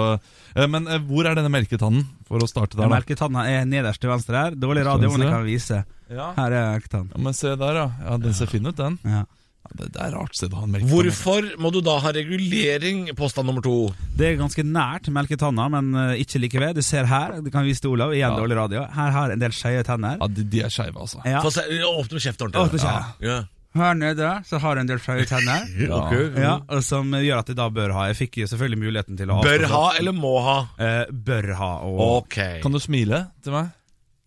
[SPEAKER 5] eh, men eh, hvor er denne melketannen, for å starte der? da?
[SPEAKER 4] Melketanna er nederst til venstre her. Dårlig radio, men jeg kan vise. Her er melketann.
[SPEAKER 5] Ja, men se der, ja. ja den ser fin ut, den.
[SPEAKER 4] Ja.
[SPEAKER 5] Ja, det, det er rart sted å ha en melketann.
[SPEAKER 3] Hvorfor må du da ha regulering, påstand nummer to?
[SPEAKER 4] Det er ganske nært melketanna, men eh, ikke like ved. Du ser her, du kan vise til Olav, igjen dårlig radio. Her har en del skeive tenner.
[SPEAKER 5] Ja, de, de er skeive, altså.
[SPEAKER 4] Ja.
[SPEAKER 3] Få se, åpne kjeften
[SPEAKER 4] Åpne
[SPEAKER 3] ordentlig. da. Ja.
[SPEAKER 4] Her nede så har jeg en del skjeve tenner.
[SPEAKER 3] Ja.
[SPEAKER 4] Ja, og som gjør at jeg da bør ha. Jeg fikk jo selvfølgelig muligheten til å avstå
[SPEAKER 3] Bør
[SPEAKER 4] fra-
[SPEAKER 3] ha eller må ha?
[SPEAKER 4] Eh, bør ha. Og,
[SPEAKER 3] Ok.
[SPEAKER 5] Kan du smile til meg?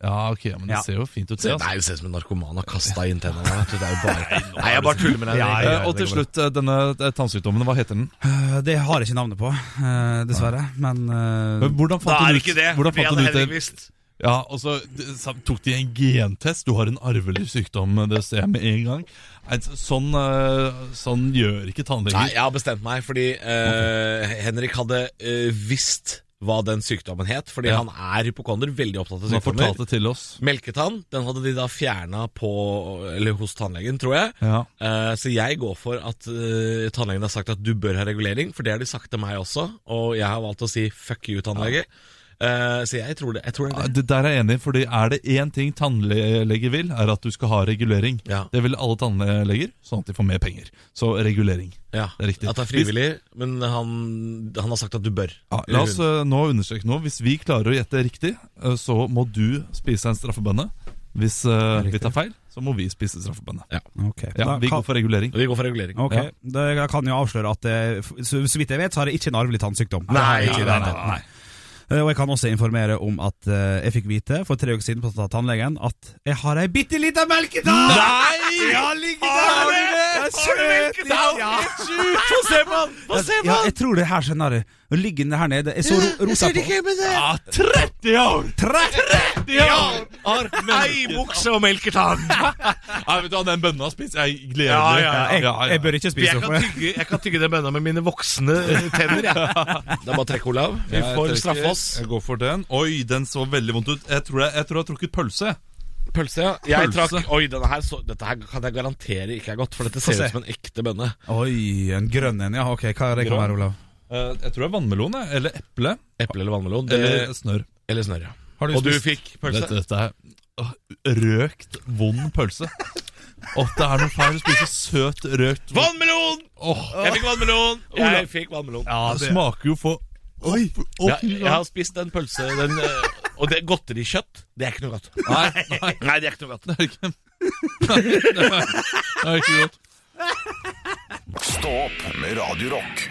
[SPEAKER 5] Ja, ok, men det
[SPEAKER 4] Ja.
[SPEAKER 5] ser jo fint ut.
[SPEAKER 3] Se,
[SPEAKER 5] det, altså.
[SPEAKER 3] nei, du ser ut som en narkoman har kasta inn tennene. vet du. Det er jo bare... Nei, jeg bare tuller med deg.
[SPEAKER 4] Ja,
[SPEAKER 3] Henrik.
[SPEAKER 4] ja.
[SPEAKER 5] Eh, og til
[SPEAKER 4] det går
[SPEAKER 5] slutt, eh, denne eh, tannsykdommen, hva heter den?
[SPEAKER 4] Eh, det har jeg ikke navnet på, eh, dessverre. Men eh,
[SPEAKER 3] Da
[SPEAKER 5] Hvordan fant
[SPEAKER 3] er
[SPEAKER 5] du
[SPEAKER 3] det
[SPEAKER 5] ut-
[SPEAKER 3] ikke det.
[SPEAKER 5] Hvordan
[SPEAKER 3] Vi
[SPEAKER 5] fant
[SPEAKER 3] hadde
[SPEAKER 5] du ut
[SPEAKER 3] Henrik
[SPEAKER 5] det?
[SPEAKER 3] visst.
[SPEAKER 5] Ja, og så d- sa- tok de en gentest. Du har en arvelig sykdom, eh, det ser jeg med en gang. Nei, så- Sånn, eh, sånn gjør ikke
[SPEAKER 3] Nei,
[SPEAKER 5] tannleger.
[SPEAKER 3] jeg har bestemt meg fordi eh, Henrik hadde eh, visst hva den sykdommen het, fordi
[SPEAKER 5] Ja.
[SPEAKER 3] han er hypokonder, veldig opptatt av
[SPEAKER 5] Han fortalte
[SPEAKER 3] sykdommer.
[SPEAKER 5] det til oss.
[SPEAKER 3] Melketann den hadde de da fjerna på, eller hos tannlegen, tror jeg.
[SPEAKER 5] Ja.
[SPEAKER 3] Eh, så jeg går for at eh, tannlegen har sagt at du bør ha regulering, for det har de sagt til meg også, og jeg har valgt å si fuck you, tannlege. Eh, så jeg tror det. Jeg tror det,
[SPEAKER 5] Ja,
[SPEAKER 3] er det.
[SPEAKER 5] Det der er jeg enig i, fordi er det én ting tannleger vil, er at du skal ha regulering.
[SPEAKER 3] Ja.
[SPEAKER 5] Det vil alle tannleger, sånn at de får mer penger. Så regulering.
[SPEAKER 3] Ja,
[SPEAKER 5] det er riktig.
[SPEAKER 3] At det er frivillig, men han, han har sagt at du bør.
[SPEAKER 5] Ja, la oss eh, nå understreke noe. Hvis vi klarer å gjette riktig, eh, så må du spise en straffebønne. Hvis eh, vi tar feil, så må vi spise straffebønne.
[SPEAKER 4] ok.
[SPEAKER 5] Ja,
[SPEAKER 4] Da
[SPEAKER 5] vi
[SPEAKER 4] kan-
[SPEAKER 5] går for regulering.
[SPEAKER 3] Vi går for regulering.
[SPEAKER 4] Ok,
[SPEAKER 5] Ja.
[SPEAKER 4] da jeg kan jo avsløre at eh, f- så, så vidt jeg vet, så har jeg ikke en arvelig tannsykdom.
[SPEAKER 3] Nei,
[SPEAKER 4] Ikke i det
[SPEAKER 3] nei,
[SPEAKER 4] hele tatt, nei. Eh, Og jeg kan også informere om at eh, jeg fikk vite for tre uker siden på tannlegen at jeg har ei bitte lita melketann! Nei! Ja, ligger der! Jeg
[SPEAKER 3] Har du melketann?
[SPEAKER 4] Ja.
[SPEAKER 3] Få se på han! Få se på
[SPEAKER 4] Ja,
[SPEAKER 3] han!
[SPEAKER 4] jeg tror det her scenarioet Ligger den her nede Jeg så ro- rosa på
[SPEAKER 5] Ja, 30 år!
[SPEAKER 4] Tre!
[SPEAKER 5] Har
[SPEAKER 3] Ei bukse og melketann!
[SPEAKER 5] Nei, vet du hva, den bønna spiser jeg gledelig.
[SPEAKER 3] Ja, ja,
[SPEAKER 4] Ja, jeg, jeg bør ikke spise
[SPEAKER 3] Jeg
[SPEAKER 4] opp
[SPEAKER 3] kan tygge, jeg kan tygge den bønna med mine voksne eh, tenner, jeg. Det er bare å trekke, Olav. Vi
[SPEAKER 5] Jeg
[SPEAKER 3] får
[SPEAKER 5] trekker-
[SPEAKER 3] straffe oss.
[SPEAKER 5] Jeg går for den. Oi, den så veldig vondt ut. Jeg tror jeg, jeg, tror jeg har trukket pølse.
[SPEAKER 3] Pølse, ja. Jeg
[SPEAKER 5] Pølse.
[SPEAKER 3] trakk Oi, denne her, så, dette her kan jeg garantere ikke er godt, for dette
[SPEAKER 4] Få
[SPEAKER 3] ser
[SPEAKER 4] se.
[SPEAKER 3] ut som en ekte bønne.
[SPEAKER 4] Oi, en grønn en Ja, ok, hva er det kan
[SPEAKER 5] Grønn.
[SPEAKER 4] være, Olav?
[SPEAKER 5] Eh, jeg tror det er vannmelon, jeg, eller eple.
[SPEAKER 3] Eple eller vannmelon? Det,
[SPEAKER 5] Eller
[SPEAKER 3] eller,
[SPEAKER 5] snørr.
[SPEAKER 3] snørr, ja.
[SPEAKER 4] Har du
[SPEAKER 3] Og Eh, du
[SPEAKER 4] spist-
[SPEAKER 3] fikk pølse?
[SPEAKER 5] Dette, dette er åh, røkt, vond pølse. Og det er noe feil å spise søt, røkt vond
[SPEAKER 3] Vannmelon!
[SPEAKER 5] Åh,
[SPEAKER 3] Jeg fikk vannmelon! Jeg fikk vannmelon.
[SPEAKER 5] Det smaker jo for Oi!
[SPEAKER 3] Jeg, jeg har spist den pølse den, eh, Og det godterikjøtt, det er ikke noe godt.
[SPEAKER 5] Nei, nei,
[SPEAKER 3] Nei, det er ikke noe godt.
[SPEAKER 5] det er ikke Det er ikke godt.
[SPEAKER 1] Stå opp med Radio Rock.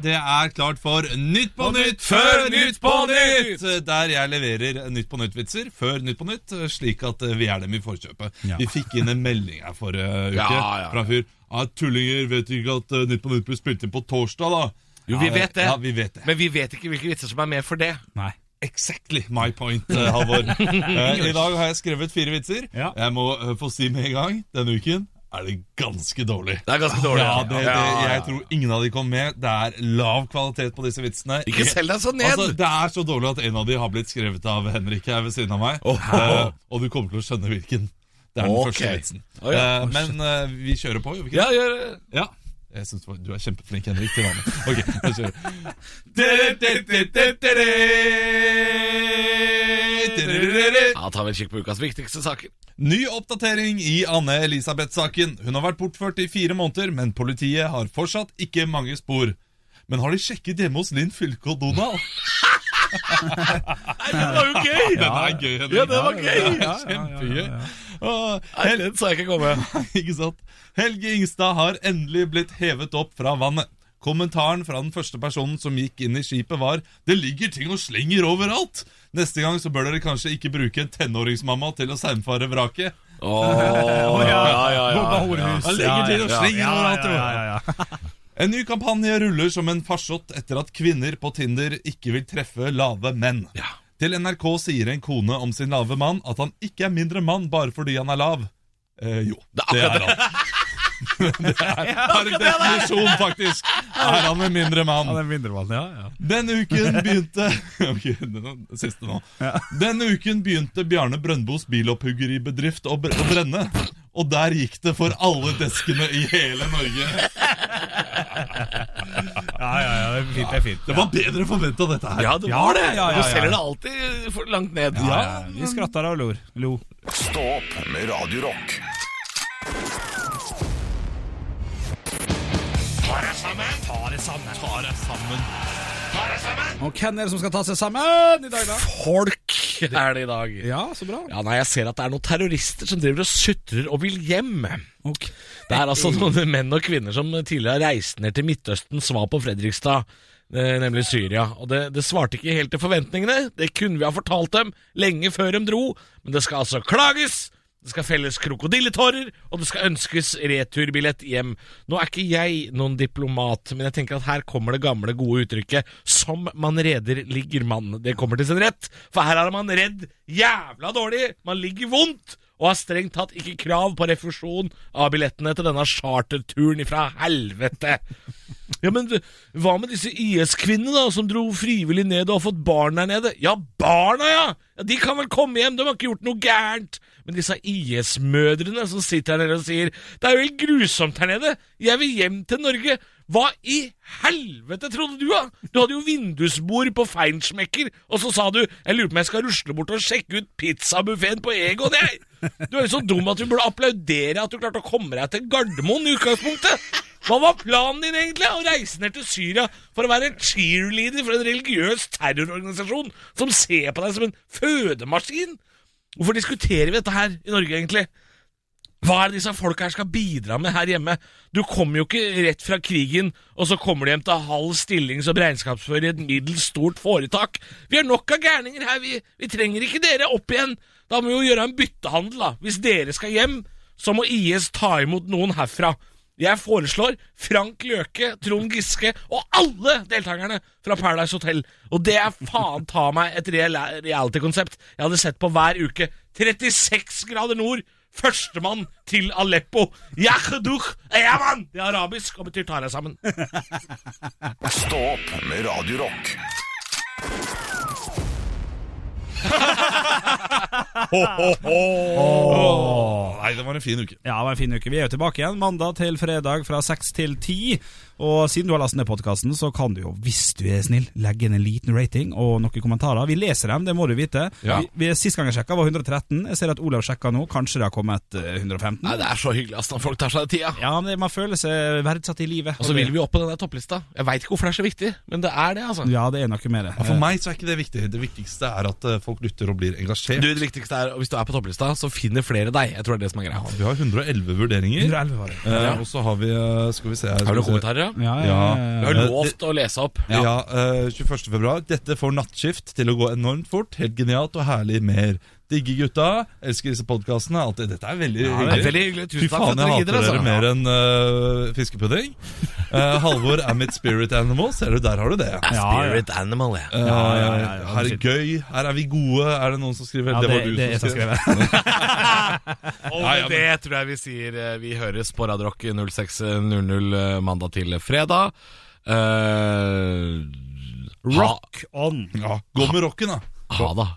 [SPEAKER 5] Det er klart for Nytt på nytt
[SPEAKER 3] før Nytt på nytt!
[SPEAKER 5] Der jeg leverer Nytt på nytt-vitser før Nytt på nytt, slik at eh, vi er dem i forkjøpet.
[SPEAKER 4] Ja.
[SPEAKER 5] Vi fikk inn en melding her forrige uke
[SPEAKER 3] Ja, ja.
[SPEAKER 5] fra en fyr. Ja, 'Tullinger, vet ikke at eh, Nytt på nytt blir spilt inn på torsdag', da?
[SPEAKER 3] Jo, vi vet det.
[SPEAKER 5] Ja, vi vet det.
[SPEAKER 3] Men vi vet ikke hvilke vitser som er med for det.
[SPEAKER 4] Nei
[SPEAKER 5] Exactly my point, eh, Halvor. Eh, I dag har jeg skrevet fire vitser.
[SPEAKER 4] Ja.
[SPEAKER 5] Jeg må eh, få si med en gang, denne uken er det ganske dårlig.
[SPEAKER 3] Det er ganske dårlig.
[SPEAKER 5] Ja, det, det,
[SPEAKER 3] Ja,
[SPEAKER 5] jeg
[SPEAKER 3] ja.
[SPEAKER 5] tror ingen av de kom med. Det er lav kvalitet på disse vitsene.
[SPEAKER 3] Ikke selg deg så ned!
[SPEAKER 5] Altså, det er så dårlig at en av de har blitt skrevet av Henrik her ved siden av meg. Eh, og du kommer til å skjønne hvilken. Det er den
[SPEAKER 3] Ok.
[SPEAKER 5] første vitsen.
[SPEAKER 3] Å, ja.
[SPEAKER 5] Eh, men eh, vi kjører på, gjør vi ikke det?
[SPEAKER 3] ja, gjør det.
[SPEAKER 5] Ja. Jeg synes du var- du er kjempeflink, Henrik, til vanlig. Ok, da kjører vi.
[SPEAKER 3] Ja, tar vi en kikk på ukas viktigste saker.
[SPEAKER 5] Ny oppdatering i Anne Elisabeth-saken. Hun har vært bortført i fire måneder, men politiet har fortsatt ikke mange spor. Men har de sjekket hjemme hos Linn Fylke og Donald?
[SPEAKER 3] Det var jo gøy!
[SPEAKER 5] Den er gøy, Henrik.
[SPEAKER 3] Ja, det var gøy.
[SPEAKER 5] Ja, Kjempegøy. Åh,
[SPEAKER 3] Nei, den sa jeg ikke komme.
[SPEAKER 5] Ikke sant? Helge Ingstad har endelig blitt hevet opp fra vannet. Kommentaren fra den første personen som gikk inn i skipet var Det ligger ting og slenger overalt! Neste gang så bør dere kanskje ikke bruke en tenåringsmamma til å saumfare vraket.
[SPEAKER 3] Åh, ja, ja,
[SPEAKER 4] Bobba
[SPEAKER 3] ja.
[SPEAKER 4] Horehus
[SPEAKER 5] Han legger til og slenger overalt, jo.
[SPEAKER 4] ja, ja.
[SPEAKER 5] En ny kampanje ruller som en farsott etter at kvinner på Tinder ikke vil treffe lave menn. Til NRK sier en kone om sin lave mann at han ikke er mindre mann bare fordi han er lav. Eh, jo, det er, han. det er per definisjon, faktisk. Er han en mindre mann?
[SPEAKER 4] Den vindervallen, ja, ja
[SPEAKER 5] Denne uken begynte Ok, den siste nå. Denne uken begynte Bjarne Brøndbos bilopphuggeribedrift å, br å brenne. Og der gikk det for alle deskene i hele Norge.
[SPEAKER 4] Ja, ja, ja, det er fint, det er fint
[SPEAKER 5] Det var bedre forventa, dette her.
[SPEAKER 3] Ja, det var det.
[SPEAKER 4] Ja, ja, ja,
[SPEAKER 3] Du
[SPEAKER 4] ja.
[SPEAKER 3] selger det alltid for langt ned.
[SPEAKER 4] Ja, Vi skrattet og lor Lo
[SPEAKER 1] Stå opp med Radio Rock.
[SPEAKER 4] Og hvem er det som skal ta seg sammen i dag da?
[SPEAKER 3] Folk er det i dag.
[SPEAKER 4] Ja, så bra.
[SPEAKER 3] Ja, nei, Jeg ser at det er noen terrorister som driver og sutrer og vil hjem.
[SPEAKER 4] Ok.
[SPEAKER 3] Det er altså noen menn og kvinner som tidligere har reist ned til Midtøsten, som var på Fredrikstad, eh, nemlig Syria. Og det, det svarte ikke helt til forventningene. Det kunne vi ha fortalt dem lenge før de dro, men det skal altså klages. Det skal felles krokodilletårer, og det skal ønskes returbillett hjem. Nå er ikke jeg noen diplomat, men jeg tenker at her kommer det gamle, gode uttrykket 'som man reder, ligger man'. Det kommer til sin rett, for her er man redd jævla dårlig. Man ligger vondt, og har strengt tatt ikke krav på refusjon av billettene til denne charterturen ifra helvete. Ja, men du, hva med disse IS-kvinnene da, som dro frivillig ned og har fått barn der nede? Ja, barna, ja! ja! De kan vel komme hjem, de har ikke gjort noe gærent. Men disse IS-mødrene som sitter her nede og sier Det er jo helt grusomt her nede, jeg vil hjem til Norge. Hva i helvete trodde du, da? Du hadde jo vindusbord på Feinschmecker, og så sa du Jeg lurer på om jeg skal rusle bort og sjekke ut pizzabuffeen på Egon, jeg! Du er jo så dum at du burde applaudere at du klarte å komme deg til Gardermoen i utgangspunktet! Hva var planen din egentlig? Å reise ned til Syria for å være cheerleader for en religiøs terrororganisasjon som ser på deg som en fødemaskin? Hvorfor diskuterer vi dette her i Norge, egentlig? Hva er det disse folka her skal bidra med her hjemme? Du kommer jo ikke rett fra krigen, og så kommer du hjem til halv stilling som regnskapsfører i et middels stort foretak. Vi har nok av gærninger her, vi, vi trenger ikke dere opp igjen. Da må vi jo gjøre en byttehandel, da. Hvis dere skal hjem, så må IS ta imot noen herfra. Jeg foreslår Frank Løke, Trond Giske og alle deltakerne fra Paradise Hotel. Og det er faen ta meg et real reality-konsept jeg hadde sett på hver uke. 36 grader nord, førstemann til Aleppo. Yakhduh eyaman! Det er arabisk og betyr ta deg sammen.
[SPEAKER 1] Stå opp med Radio Rock.
[SPEAKER 5] Åh, nei, det var en fin uke.
[SPEAKER 4] Ja, det var en fin uke. Vi er jo tilbake igjen mandag til fredag fra 6 til 10. Og siden du har lastet ned podkasten, så kan du jo, hvis du er snill, legge inn en liten rating og noen kommentarer. Vi leser dem, det må du vite.
[SPEAKER 5] Ja.
[SPEAKER 4] Vi, vi, sist gang jeg sjekka, var 113. Jeg ser at Olav sjekka nå. Kanskje det har kommet eh, 115?
[SPEAKER 3] Nei, Det er så hyggelig ass, når folk tar seg den tida.
[SPEAKER 4] Ja, men det- man føler seg verdsatt i livet.
[SPEAKER 3] Og så vil vi opp på den der topplista. Jeg veit ikke hvorfor det er så viktig, men det er det, altså.
[SPEAKER 4] Ja, det er noe med det.
[SPEAKER 5] Ja, for
[SPEAKER 3] Eh.
[SPEAKER 5] meg så er ikke det viktig. Det viktigste er at eh, folk lytter og blir engasjert.
[SPEAKER 3] Du, det viktigste er, Hvis du er på topplista, så finner flere deg. Jeg tror det er det som er greia.
[SPEAKER 5] Vi har 111 vurderinger.
[SPEAKER 4] 111 var det.
[SPEAKER 5] Eh, Og så har vi eh, Skal vi se her.
[SPEAKER 3] Har du noen
[SPEAKER 5] skal vi se.
[SPEAKER 3] kommentarer? da?
[SPEAKER 4] Ja, ja,
[SPEAKER 5] Ja.
[SPEAKER 3] Vi
[SPEAKER 4] ja.
[SPEAKER 3] har
[SPEAKER 5] Eh,
[SPEAKER 3] lovt å lese opp.
[SPEAKER 5] Ja, eh, 21. februar. Dette får nattskift til å gå enormt fort. Helt genialt og herlig mer. Digge gutta. Elsker disse podkastene. Alt det. Dette er veldig
[SPEAKER 3] Det
[SPEAKER 5] hyggelig.
[SPEAKER 3] er veldig hyggelig.
[SPEAKER 5] Fy
[SPEAKER 3] Tusen takk for
[SPEAKER 5] faen,
[SPEAKER 3] at dere
[SPEAKER 5] jeg hater
[SPEAKER 3] gidder.
[SPEAKER 5] dere
[SPEAKER 3] Altså.
[SPEAKER 5] mer enn eh, fiskepudding. Eh, Halvor er mitt spirit animal. Ser du, der har du det.
[SPEAKER 3] Spirit animal, ja.
[SPEAKER 5] Eh,
[SPEAKER 4] Ja, ja, ja, ja.
[SPEAKER 5] Her er gøy, her er vi gode. Er det noen som skriver?
[SPEAKER 4] Ja,
[SPEAKER 5] det,
[SPEAKER 4] det-
[SPEAKER 5] var du
[SPEAKER 4] det er jeg som
[SPEAKER 5] som skrev.
[SPEAKER 3] Og med det tror jeg vi sier eh, vi høres på Radarock 06.00 eh, mandag til fredag. Eh,
[SPEAKER 4] Rock on.
[SPEAKER 5] Ja, gå med rocken, da.
[SPEAKER 3] Ha, ha da.